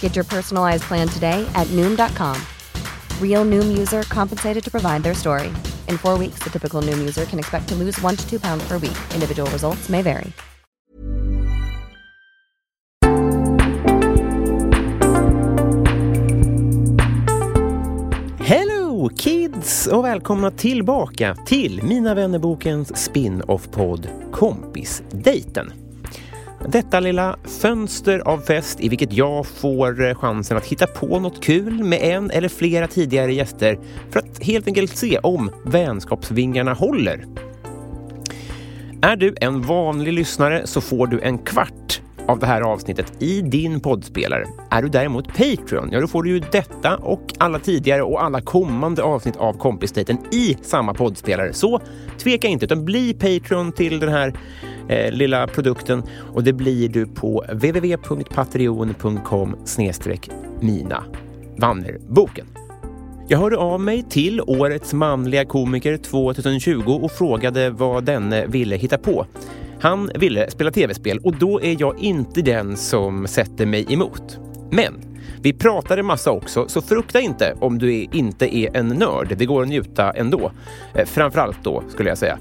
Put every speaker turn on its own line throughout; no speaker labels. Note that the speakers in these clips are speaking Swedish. Get your personalized plan today at Noom.com. Real Noom user compensated to provide their story. In four weeks, the typical Noom user can expect to lose one to two pounds per week. Individual results may vary.
Hello kids och välkomna tillbaka till Mina vännerbokens spin-off-podd Kompisdejten. Detta lilla fönster av fest i vilket jag får eh, chansen att hitta på något kul med en eller flera tidigare gäster för att helt enkelt se om vänskapsvingarna håller. Är du en vanlig lyssnare så får du en kvart av det här avsnittet i din poddspelare. Är du däremot Patreon, ja då får du ju detta och alla tidigare och alla kommande avsnitt av Kompisdejten i samma poddspelare. Så tveka inte, utan bli Patreon till den här eh, lilla produkten och det blir du på www.patreon.com mina vannerboken. Jag hörde av mig till årets manliga komiker 2020 och frågade vad denne ville hitta på. Han ville spela tv-spel och då är jag inte den som sätter mig emot. Men vi pratade massa också, så frukta inte om du är- inte är en nörd. Det går att njuta ändå. Eh, Framförallt då, skulle jag säga.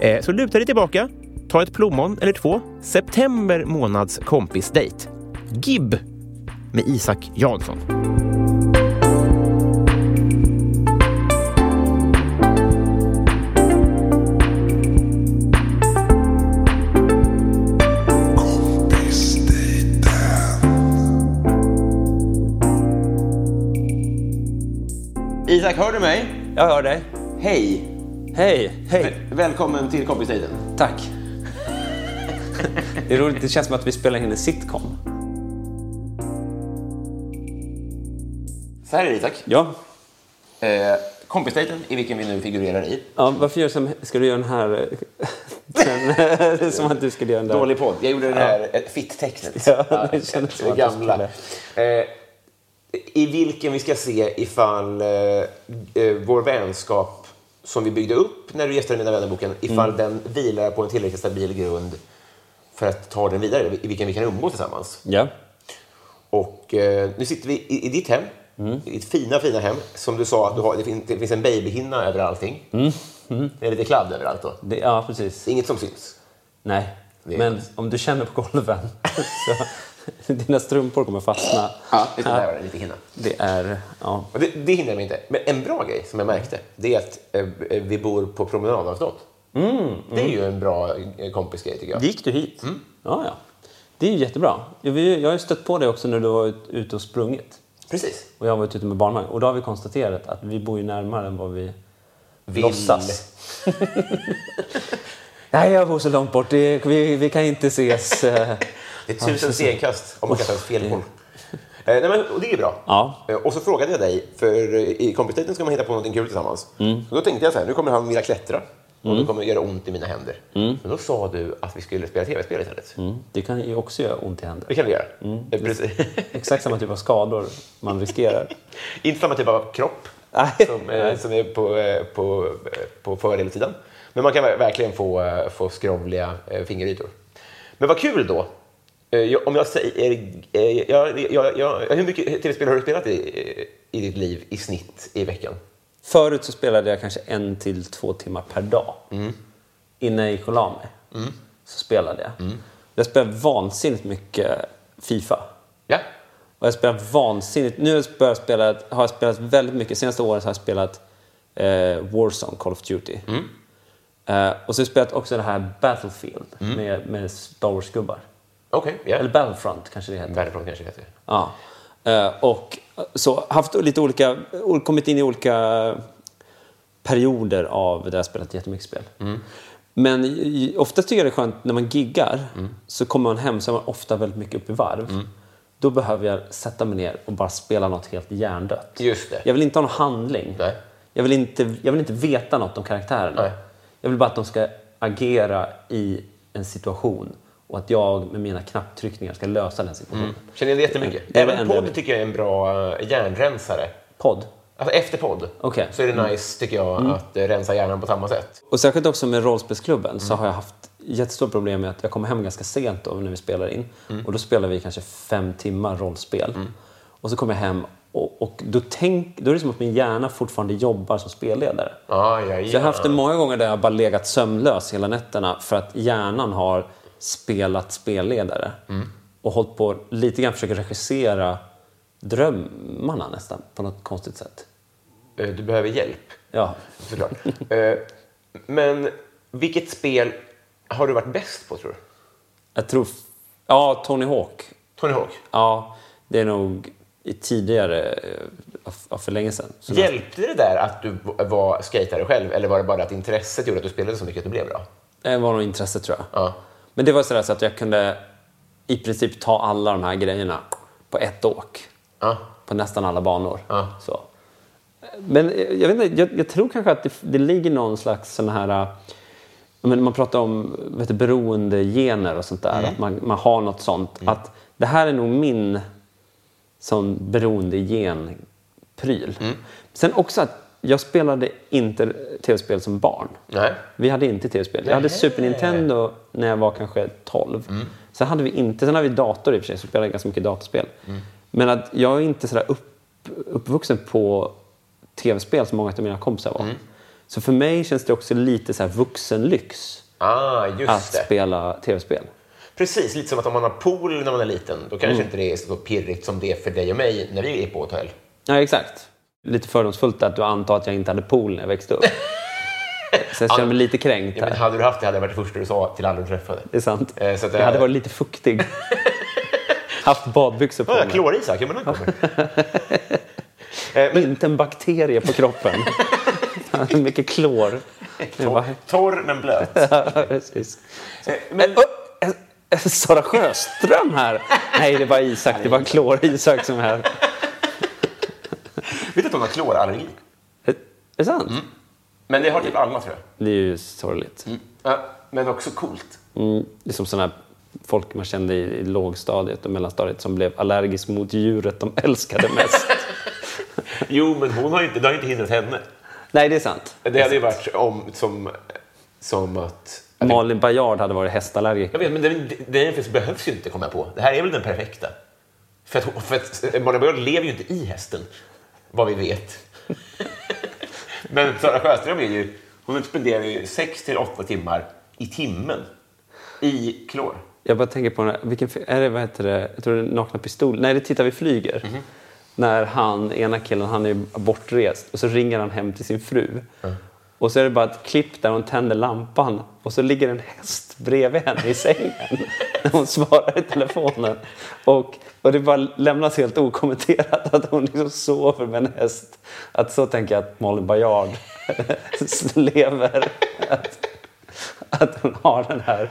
Eh, Så luta dig tillbaka, ta ett plommon eller två. September månads kompisdejt. Gibb med Isak Jansson. Isak, hör du mig?
Jag hör dig.
Hej!
Hej!
Hej! Välkommen till kompistiden.
Tack. Det är roligt, det känns som att vi spelar in en sitcom.
Så här är det Isak.
Ja.
Eh, kompisdejten i vilken vi nu figurerar i.
ja varför gör du som, ska du göra den här... Den, som att du skulle göra den där.
Dålig podd. Jag gjorde det här eh, fitt-tecknet.
Ja, det kändes som
det
att jag
gamla. Eh, I vilken vi ska se ifall eh, eh, vår vänskap som vi byggde upp när du gästade Mina vännerboken,
Mm.
ifall den vilar på en tillräckligt stabil grund för att ta den vidare, i vilken vi kan umgås tillsammans.
Ja.
Och eh, nu sitter vi i, i ditt hem, i ditt fina, fina hem. Som du sa, att du har, det, finns, det finns en babyhinna över allting. Det är lite kladd överallt då.
Det, ja, precis.
Inget som syns.
Nej.
Det är-
Men om du känner på golven så dina strumpor kommer fastna.
Ja, lite där var det, lite hinna.
Det är... Ja.
Och det, det hindrar mig inte. Men en bra grej som jag märkte, det är att eh, vi bor på promenadavstånd. Det är ju en bra eh, kompisgrej tycker jag.
Gick du hit? Mm. Ja, ja. Det är ju jättebra. Jag vi- jag har ju stött på dig också när du var ut- ute och sprungit.
Precis.
Och jag har varit ute med barnvagn. Och då har vi konstaterat att vi bor ju närmare än vad vi
Vill.
låtsas. Nej, jag bor så långt bort. Det, vi, vi kan inte ses. eh.
Det är tusen stenkast om man kastar fel boll. Eh, nej, men, och det är bra.
Ja.
Eh, och så frågade jag dig, för eh, i kompetiten ska man hitta på något kul tillsammans. Så då tänkte jag så här, nu kommer han vilja klättra. Och då kommer det göra ont i mina händer. Men då sa du att vi skulle spela tv-spel istället.
Mm. Det kan ju också göra ont i
Det
händer.
kan vi göra. Eh, precis.
Exakt samma typ av skador man riskerar.
Inte samma typ av kropp
Nej.
som, eh, som är på, eh, på, eh, på fördelsidan. Men man kan ver- verkligen få, eh, få skrovliga eh, fingerytor. Men vad kul då! Eh, jag- Om jag säger... eh, Jag, jag, jag, hur mycket tv-spel har du spelat i, eh, i ditt liv i snitt i veckan?
Förut så spelade jag kanske en till två timmar per dag. Innan jag gick och la mig så spelade jag. Jag spelade vansinnigt mycket Fifa.
Ja?
Och jag spelar vansinnigt. Nu har jag börjat spela, har jag spelat väldigt mycket. Senaste åren så har jag spelat eh, Warzone, Call of Duty. Eh, och så har jag spelat också det här Battlefield med, med Star Wars-gubbar.
Okej, ja.
Eller Battlefront kanske det heter.
Battlefront kanske det heter.
Ja. Eh, Och så haft lite olika, ol- kommit in i olika perioder av där jag spelat jättemycket spel.
Mm.
Men i- oftast tycker jag det är skönt när man giggar
Mm.
så kommer man hem så är man ofta väldigt mycket upp i varv. Då behöver jag sätta mig ner och bara spela något helt hjärndött.
Just det.
Jag vill inte ha någon handling.
Nej.
Jag, vill inte, jag vill inte veta något om karaktärerna.
Nej.
Jag vill bara att de ska agera i en situation och att jag med mina knapptryckningar ska lösa den situationen.
Känner jag det jättemycket.
Det är det
Även
enda jag
podd
vill.
tycker jag är en bra eh, hjärnrensare.
Podd.
Alltså efter podd
Okej. Mm.
så är det nice, tycker jag, att eh, rensa hjärnan på samma sätt.
Och särskilt också med rollspelsklubben så har jag haft jättestora problem med att jag kommer hem ganska sent då när vi spelar in.
Mm.
Och då spelar vi kanske fem timmar rollspel. Och så kommer jag hem och, och då, tänk, då är det som att min hjärna fortfarande jobbar som spelledare.
Ah, ja,
Så jag
ja.
har haft det många gånger där jag bara legat sömnlös hela nätterna för att hjärnan har spelat spelledare.
Mm.
Och hållit på lite grann försöker regissera drömmarna nästan på något konstigt sätt.
Eh, Du behöver hjälp,
Ja.
såklart. Eh, Men vilket spel har du varit bäst på, tror du?
Jag tror... Ja, Tony Hawk
Tony Hawk?
Ja, det är nog i tidigare, eh, av- av för länge sedan. Så
Hjälpte det där att du var skatare själv, eller var det bara att intresset gjorde att du spelade så mycket att du blev bra?
Det Eh, var nog intresse tror jag.
Ja.
Men det var sådär så att jag kunde i princip ta alla de här grejerna på ett åk.
Ja.
På nästan alla banor.
Ja.
Så. Men eh, jag, vet inte, jag, jag tror kanske att det, det ligger någon slags sån här... eh, Men man pratar om vet du, beroendegener och sånt där.
Mm.
Att man, man har något sånt. Att det här är nog min sån beroendegen-pryl.
Mm.
Sen också att jag spelade inte tv-spel som barn.
Nej.
Vi hade inte tv-spel. Jag hade Super Nintendo när jag var kanske 12.
Mm.
Sen hade vi inte, sen hade vi dator i och för sig, så spelade jag ganska mycket datorspel.
Mm.
Men att jag är inte sådär upp, uppvuxen på tv-spel som många av mina kompisar
Mm.
var. Så för mig känns det också lite så här vuxenlyx
Ah, just
att
det.
spela tv-spel.
Precis, lite som att om man har pool när man är liten, då kanske
Mm.
inte det är så pirrigt som det är för dig och mig när vi är på hotell.
Ja, exakt. Lite fördomsfullt att du antar att jag inte hade pool när jag växte upp. så jag känner mig lite kränkt
Ja, men
här.
hade du haft det hade jag varit det första du sa till alla du träffade.
Det är sant.
Eh, så att
Jag
jag-
hade varit lite fuktig. Haft badbyxor på
Ja,
mig.
kloris men han kommer. Eh, men
Inte en bakterie på kroppen. Fan, Mycket klor. Det var-
torr, torr men blöt.
Precis.
Eh, Men,
Ö, ö, ö, eh, Sara Sjöström här! Nej, det var Isak. Det var klor-Isak som här.
vet du att hon har klorallergi?
Eh, Är det sant?
Men det har typ alla, tror jag.
Det är ju sorgligt.
Mm. Ja, men också coolt.
Mm, det är som sådana här folk man kände i, i lågstadiet och mellanstadiet som blev allergisk mot djuret de älskade mest.
Jo, men hon har inte, det har inte hindrat henne.
Nej, det är sant.
Det hade ju varit om, som, som att...
Malin Baryard hade varit hästallergiker.
Jag vet, men den, den jämförelsen behövs ju inte, komma på. Det här är väl den perfekta? För att, hon- för att Malin Baryard lever ju inte i hästen, vad vi vet. men Sara Sjöström är ju... Hon spenderar ju 6 till 8 timmar i timmen i klor.
Jag bara tänker på den här, vilken, fi- är det, vad heter det, jag tror det är Nakna Pistol. Nej, det är Titta vi flyger. När han, ena killen, han är ju bortrest och så ringer han hem till sin fru. Och så är det bara ett klipp där hon tänder lampan och så ligger en häst bredvid henne i sängen när hon svarar i telefonen. Och, och det bara lämnas helt okommenterat att hon liksom sover med en häst. Att så tänker jag att Malin Baryard lever. Att, att hon har den här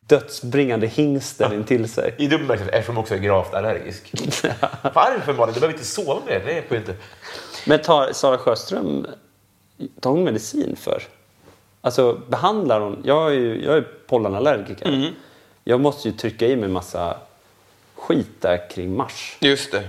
dödsbringande hingsten intill sig.
I dubbel bemärkelse, eftersom hon också är gravt allergisk. Varför, Malin? Du behöver inte sova med det. Det är på inte.
Men tar Sara Sjöström tar hon medicin för? Alltså behandlar hon? Jag är ju jag är pollenallergiker. Jag måste ju trycka i mig massa skit där kring mars.
Just det.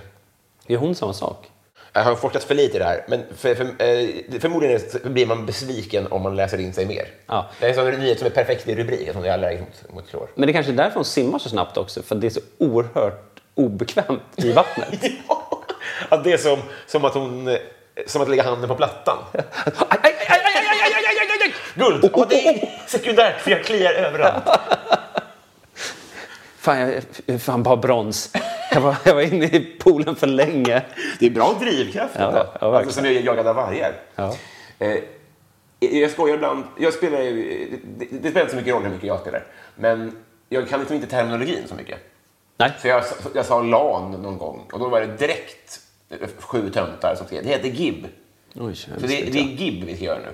Gör hon samma sak?
Jag har forskat för lite i det här, men för, för, eh, förmodligen blir man besviken om man läser in sig mer.
Ja.
Det är en sån nyhet som är perfekt i rubrik, eftersom jag är allergisk mot, mot klor.
Men det kanske är därför hon simmar så snabbt också, för det är så oerhört obekvämt i vattnet.
att det är som, som att hon... eh, Som att lägga handen på plattan. Aj, aj, aj, aj, aj, aj, aj, aj, aj, aj. Guld! Ja, det är sekundärt, för jag kliar överallt.
Fan, jag jag- fan bara brons. Jag var, jag var inne i poolen för länge.
Det är bra drivkraft.
Ja,
alltså.
ja, verkligen.
alltså, som jag jagad av vargar.
Ja.
Eh, jag skojar ibland. Jag spelar ju, det, det spelar inte så mycket roll hur mycket jag spelar. Men jag kan liksom inte terminologin så mycket.
Nej.
Så jag, jag sa LAN någon gång och då var det direkt eh, sju töntar som skrev. Det heter GIB.
Oj,
Så det, det är GIB vi ska göra nu.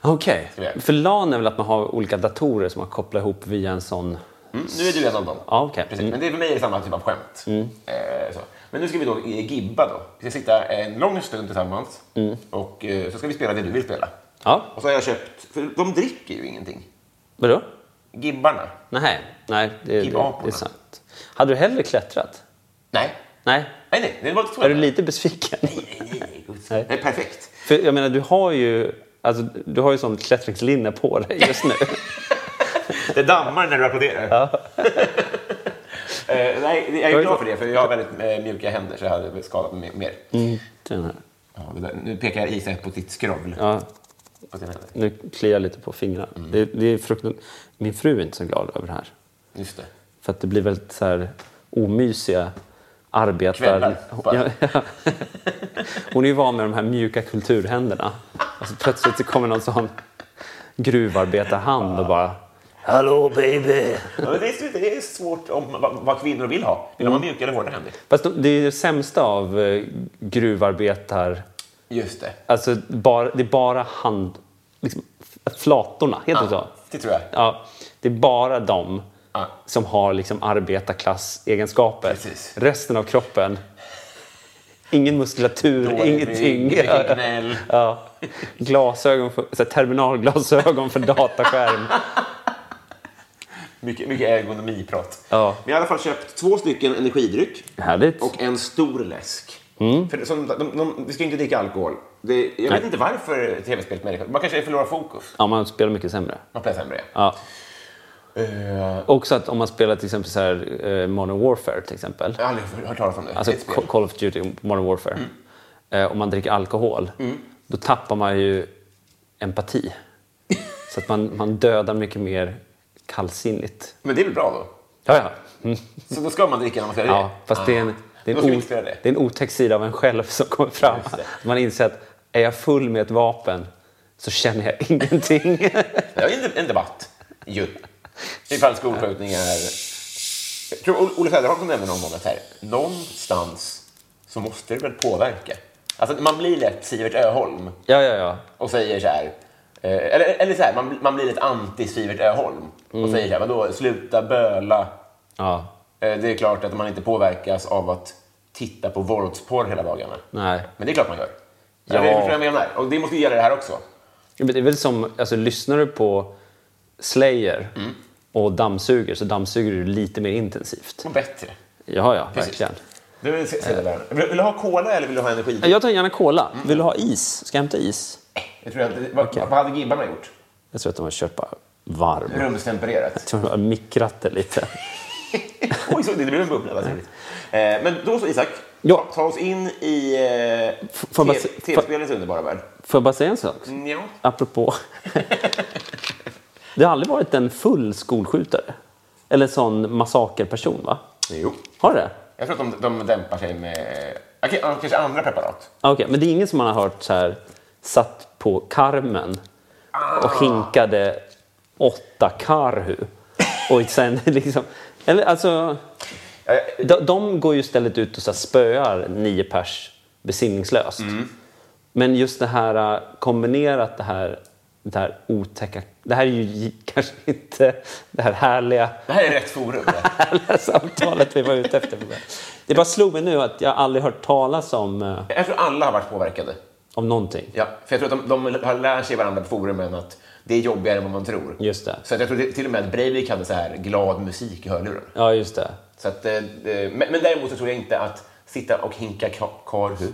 Okej.
Ska vi göra.
För LAN är väl att man har olika datorer som man kopplar ihop via en sån...
Mm, nu är du en av dem.
Ja, okej.
Precis.
Mm.
Men det är för mig är det samma typ av skämt. Eh, så. Men nu ska vi då eh, gibba då. Vi ska sitta en lång stund tillsammans
Mm.
och eh, så ska vi spela det du vill spela.
Ja,
Och så har jag köpt, för de dricker ju ingenting.
vadå?
Gibbarna.
Nej, nej det, det, det är
Gigaporna.
sant. Hade du hellre klättrat?
Nej.
Nej.
Nej, nej. Det var inte så.
Är du lite besviken?
Nej, nej, nej. Gud.
Nej.
Nej, perfekt.
För jag menar, du har ju, alltså, du har ju sån klättringslinne på dig just nu.
Det dammar när du applåderar. Eh, nej, jag
Jag
är
är
glad
så-
för det, för jag har väldigt eh, mjuka händer så jag hade väl skadat mig mer.
Mm. Den här.
Ja, det där. Nu pekar Isak på ditt skrovl.
Ja,
På sina händer.
nu kliar jag lite på fingrarna. Det, det är fruktan... Min fru är inte så glad över det här.
Just det.
För att det blir väldigt så här omysiga arbetar...
Kvällar, bara.
Ja, ja. Hon är ju van med de här mjuka kulturhänderna. Och så plötsligt så kommer någon sån gruvarbetarhand och bara... Hallå baby!
Ja, men det, är, det är svårt om vad, vad kvinnor vill ha. Vill
Mm.
de ha mjuka eller hårda händer?
Fast de- det är det sämsta av eh, gruvarbetar...
Just det.
Alltså bara, det är bara hand... Liksom, f- flatorna, heter det så?
Det tror jag.
Ja, det är bara de
Ja.
som har liksom arbetarklassegenskaper.
Precis.
Resten av kroppen, ingen muskulatur,
Dålig
ingenting.
rygg, mycket gnäll.
Ja. Glasögon, för, så här, terminalglasögon för dataskärm.
Mycket, mycket ergonomiprat.
Ja.
Vi har i alla fall köpt två stycken energidryck
Härligt.
och en stor läsk.
Mm.
För det- som, de, de, vi ska inte dricka alkohol. Det, jag vet inte varför tv-spelet människor... Man kanske förlorar fokus.
Ja, man spelar mycket sämre.
Man spelar sämre.
Ja.
Eh,
Också att om man spelar till exempel så här, eh, Modern Warfare till exempel.
jag har aldrig hört talas om det.
Alltså
det är ett
Ca-
spel. Mm.
Call of Duty, Modern Warfare. Eh, om man dricker alkohol, då tappar man ju empati. Så att man, man dödar mycket mer kallsinnigt.
Men det är väl bra då?
Ja, ja. Mm.
Så då ska man dricka när man ska
ja fast det är, en, det, är
Ah. Då
en
ska vi
o,
spela det.
det är en otäck sida av en själv som kommer fram.
Just det.
Man inser att är jag full med ett vapen så känner jag ingenting.
Det är en, en debatt. Ju. Ifall skolskjutningar... Jag tror Ol- Olle Söderholm som nämnde någon gång att så här, någonstans så måste det väl påverka. Alltså man blir lätt Sivert Öholm
ja, ja, ja.
och säger så här... eh, Eller, eller så här, man, man blir lite anti-Sivert Öholm och säger så här, vadå, sluta böla.
ja.
Eh, Det är klart att man inte påverkas av att titta på våldsporr hela dagarna.
Nej.
Men det är klart man gör.
Ja.
Ja. Det är jag menar. Och det måste ju gälla det här också.
Ja, men Det är väl som, alltså, lyssnar du på Slayer
Mm.
och dammsuger så dammsuger du lite mer intensivt.
Och bättre. Eh.
Ja, ja,
Precis.
verkligen.
Du vill, se, se det där. Vill, vill du ha cola eller vill du ha energi?
Jag tar gärna cola.
Mm.
Vill du ha is? Ska jag hämta is?
Jag tror inte, vad,
Okej.
vad hade gibbarna gjort?
Jag tror att de har köpt bara varm. Jag
Rumstempererat.
tror de har mikrat det lite.
Oj, så det blev en bubbla. Vad trevligt. eh, men då så, Isak.
Ja.
Ta oss in i eh,
F- får jag bara
te- Mm.
se-
tv-spelens underbara värld.
Får jag bara säga en sak?
Ja.
Apropå... det har aldrig varit en full skolskjutare. Eller en sån massakerperson, va?
Jo.
Har det?
Jag tror att de, de dämpar sig med okej, ja, kanske andra preparat.
Ah, Okej, men det är ingen som man har hört så här, satt på karmen och hinkade åtta karhu. Och sen liksom... Eller alltså... De, de går ju istället ut och så här spöar nio pers besinningslöst. Men just det här eh, kombinerat det här, det här otäcka... Det här är ju gi- kanske inte det här härliga,
Det här är rätt forum. va?
härliga samtalet vi var ute efter. Det bara slog mig nu att jag aldrig hört talas om, eh,
jag tror alla har varit påverkade.
om någonting.
Ja, för jag tror att de, de har lärt sig varandra på forumen att det är jobbigare än vad man tror.
Just det.
Så att jag tror till och med att Breivik hade så här glad musik i hörluren.
Ja, just det.
Så att, eh, eh, men, men däremot så tror jag inte att sitta och hinka ka- karhu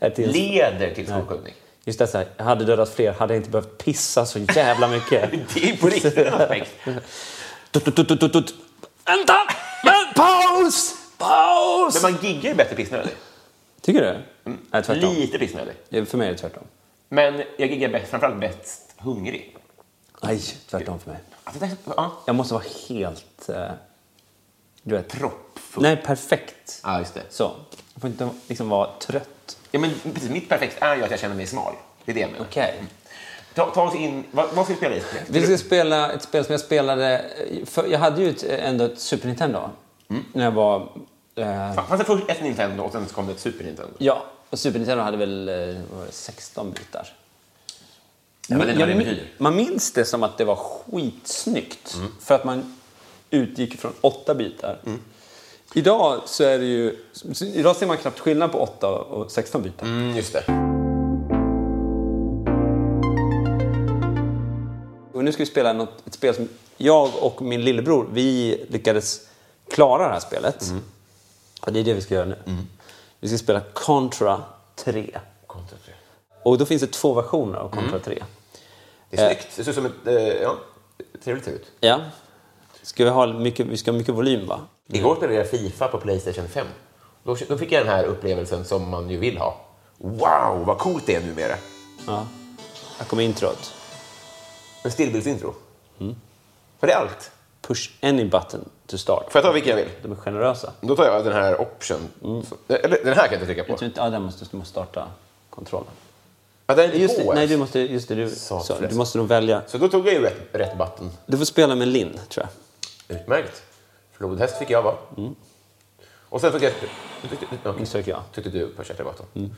Att det är-
leder till skolskjutning.
Just det, så här, jag hade dödat fler, hade jag inte behövt pissa så jävla mycket.
Det är på riktigt en aspekt.
Tut, tut, tut, tut, tut, tut. Vänta! Men paus! Paus!
Men man Mm. giggar ju bättre pissnödig.
Tycker du? Nej, tvärtom.
Lite pissnödig.
Ja, För mig är det tvärtom.
Men jag giggar bäst, framförallt bäst hungrig.
Nej, tvärtom för mig.
Alltså, det, ja.
Jag måste vara helt... Eh, Du vet.
Proppfull.
Nej, perfekt.
Ja, just det.
Så. Man får inte liksom vara trött.
Ja, men precis, mitt perfekt är ju att jag känner mig smal. Det är det jag menar. Mm.
Okej.
Ta, ta oss in. Vad, vad ska vi spela i?
Vi ska spela ett spel som jag spelade... eh, För jag hade ju ett, eh, ändå ett Super Nintendo
Mm.
när jag var... Eh,
Fanns det först ett Nintendo och sen så kom det ett Super Nintendo?
ja, och Super Nintendo hade väl eh, vad var det, 16 bitar.
Jag vet inte vad det
Jag min-
betyder.
man minns det som att det var skitsnyggt
Mm.
för att man utgick från åtta bitar. Idag så är det ju... så- Idag ser man knappt skillnad på 8 och 16 bitar.
Mm, just det.
Och nu ska vi spela något, ett spel som jag och min lillebror, vi lyckades klara det här spelet.
Mm.
Och det är det vi ska göra nu. Vi ska spela Contra 3.
Contra 3.
Och då finns det två versioner av Contra
Mm.
3.
Det är snyggt. Det ser ut som ett... Eh, ja, trevligt ut.
Ja. Ska vi, ha mycket, vi ska ha mycket volym va?
Igår spelade jag Fifa på Playstation 5. Då, då fick jag den här upplevelsen som man ju vill ha. Wow, vad coolt det är numera.
Ja. Här kommer introt.
En stillbildsintro.
Mm.
För det är allt.
Push any button to start.
Får jag ta vilken jag vill?
De är generösa.
Då tar jag den här option. Så- eh, Eller den här kan jag inte trycka
Mm. Jag
på.
tror inte, ja, där måste du måste starta kontrollen.
Ja, den är
Just
på
det,
ens.
nej, du måste, just det, du,
Sa
så, du
förresten.
måste nog välja.
Så då tog jag ju rätt, rätt button.
Du får spela med Linn, tror jag.
Utmärkt. Flodhäst fick jag vara. Och sen fick jag...
Nu söker Mm. jag. Mm.
Tyckte du på Kjell Button.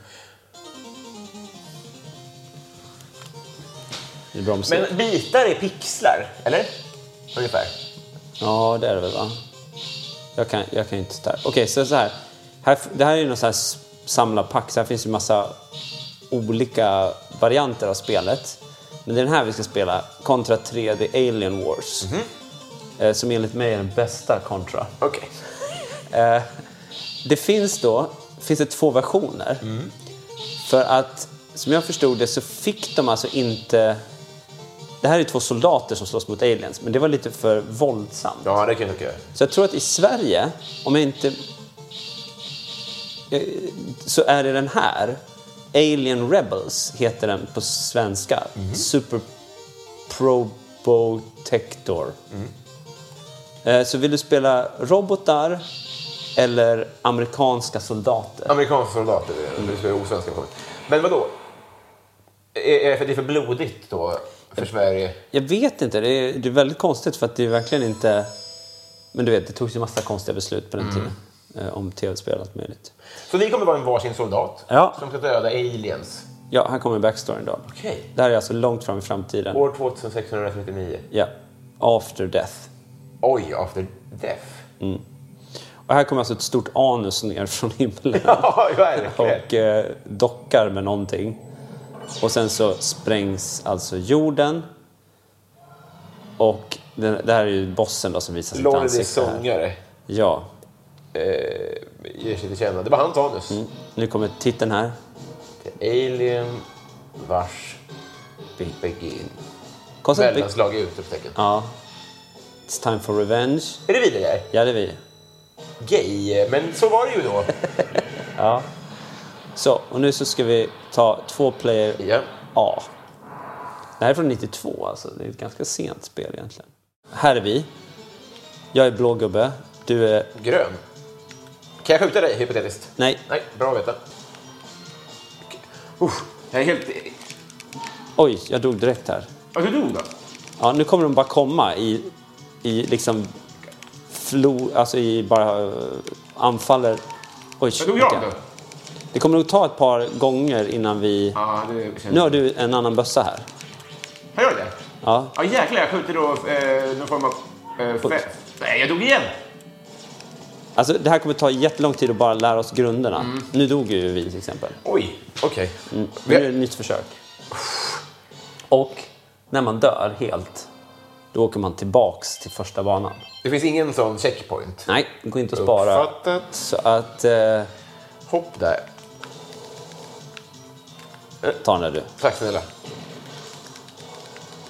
Det är bra musik.
Men bitar är pixlar, eller? Ungefär.
Ja, det är det väl va? Jag kan, jag kan ju inte stär. Okej, så, så här. här. Det här är ju någon så här s- samlarpack, så här finns ju massa olika varianter av spelet. Men det är den här vi ska spela, Contra 3 The Alien Wars. Eh, Som enligt mig är den bästa Contra.
Okej.
Det finns då finns det två versioner. För att, som jag förstod det, så fick de alltså inte... Det här är två soldater som slåss mot aliens, men det var lite för våldsamt.
Ja, det kan jag tycka.
Så jag tror att i Sverige, om jag inte... eh, Så är det den här. Alien Rebels heter den på svenska. Super Probotector. Eh, Så vill du spela robotar eller amerikanska soldater?
Amerikanska soldater, det är osvenska versioner. Men vadå? Är, är det för- det är för blodigt då för Sverige?
Jag vet inte, det är, det är väldigt konstigt för att det är verkligen inte... Men du vet, det togs ju massa konstiga beslut på den tiden. eh, Om tv-spel och allt möjligt.
Så ni kommer vara en varsin soldat
Ja.
som ska döda aliens.
Ja, här kommer backstoryn då.
Okej.
Det här är alltså långt fram i framtiden.
År 2639.
Ja. After death.
Oj, after death.
Och här kommer alltså ett stort anus ner från himlen.
Ja, verkligen.
och eh, dockar med någonting. Och sen så sprängs alltså jorden. Och den, det här är ju bossen då som visar sitt
Lordi
ansikte. här.
sångare
Ja.
eh, ger sig till känna. Det var hans anus.
Nu kommer titeln här.
The alien vars begin.
Konstigt att vi-
Mellanslag i utropstecken.
Ja. It's time for revenge.
Är det vi det där?
Ja, det är vi.
Gay, men så var det ju då.
Så, och nu så ska vi ta två player
ja.
A. Det här är från 92, alltså. Det är ett ganska sent spel egentligen. Här är vi. Jag är blå gubbe. Du är...
Grön. Kan jag skjuta dig hypotetiskt?
Nej.
Nej, bra att veta. Okej. Uff, jag är helt...
Oj, jag dog direkt här.
Ja, du dog då?
Ja, nu kommer de bara komma i... I liksom... Flo... Alltså i bara... eh, Anfaller... Oj,
Jag dog jag
okej.
då?
Det kommer nog ta ett par gånger innan vi...
Ja, det känns...
Nu har du en annan bössa här.
Har jag det?
Ja.
Ja, jäklar, jag skjuter då eh, någon form av... Eh, fe... Nej, jag dog igen!
Alltså, det här kommer ta jättelång tid att bara lära oss grunderna.
Mm.
Nu dog ju vi till exempel.
Oj, okej.
Mm. Nu är
Mm.
det ett nytt försök. Och när man dör helt, då åker man tillbaks till första banan.
Det finns ingen sån checkpoint.
Nej, det går inte att spara.
Uppfattat.
Så att... Eh,
Hopp där.
ta den där du.
Tack snälla.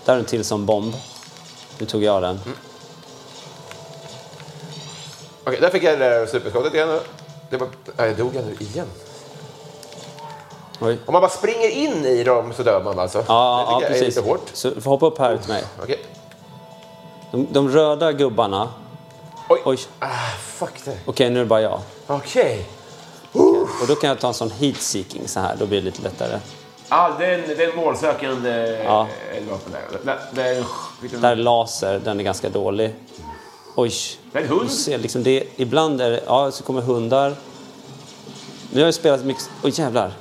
Där är en till som bomb. Nu tog jag den.
Mm. Okej, där fick jag det där superskottet igen. Det var... Ja, jag dog jag nu igen.
Oj.
Om man bara springer in i dem så dör man alltså? det
Ja, ja
tycker jag är
precis.
lite hårt.
Så du får hoppa upp här ut mig.
Okej.
De, de röda gubbarna
Oj.
Oj.
Ah, fuck det.
Okej, nu är det bara jag.
Okej.
Och då kan jag ta en sån heat seeking så här, då blir det lite lättare.
Ah, det, är en, det är en målsökande
Ja.
eh, vapen där. Det, det, är en, vilken-
Där är laser, den är ganska dålig. Oj.
Det är en hund.
Du ser liksom det, ibland är det, ja, så kommer hundar. Nu har jag spelat mycket, oj jävlar.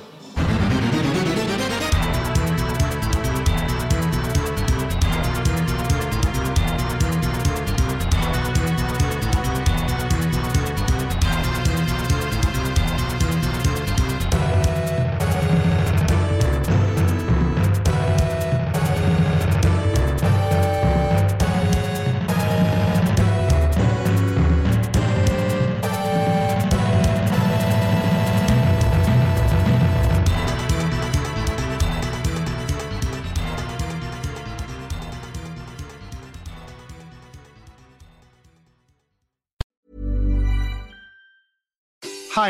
Hi,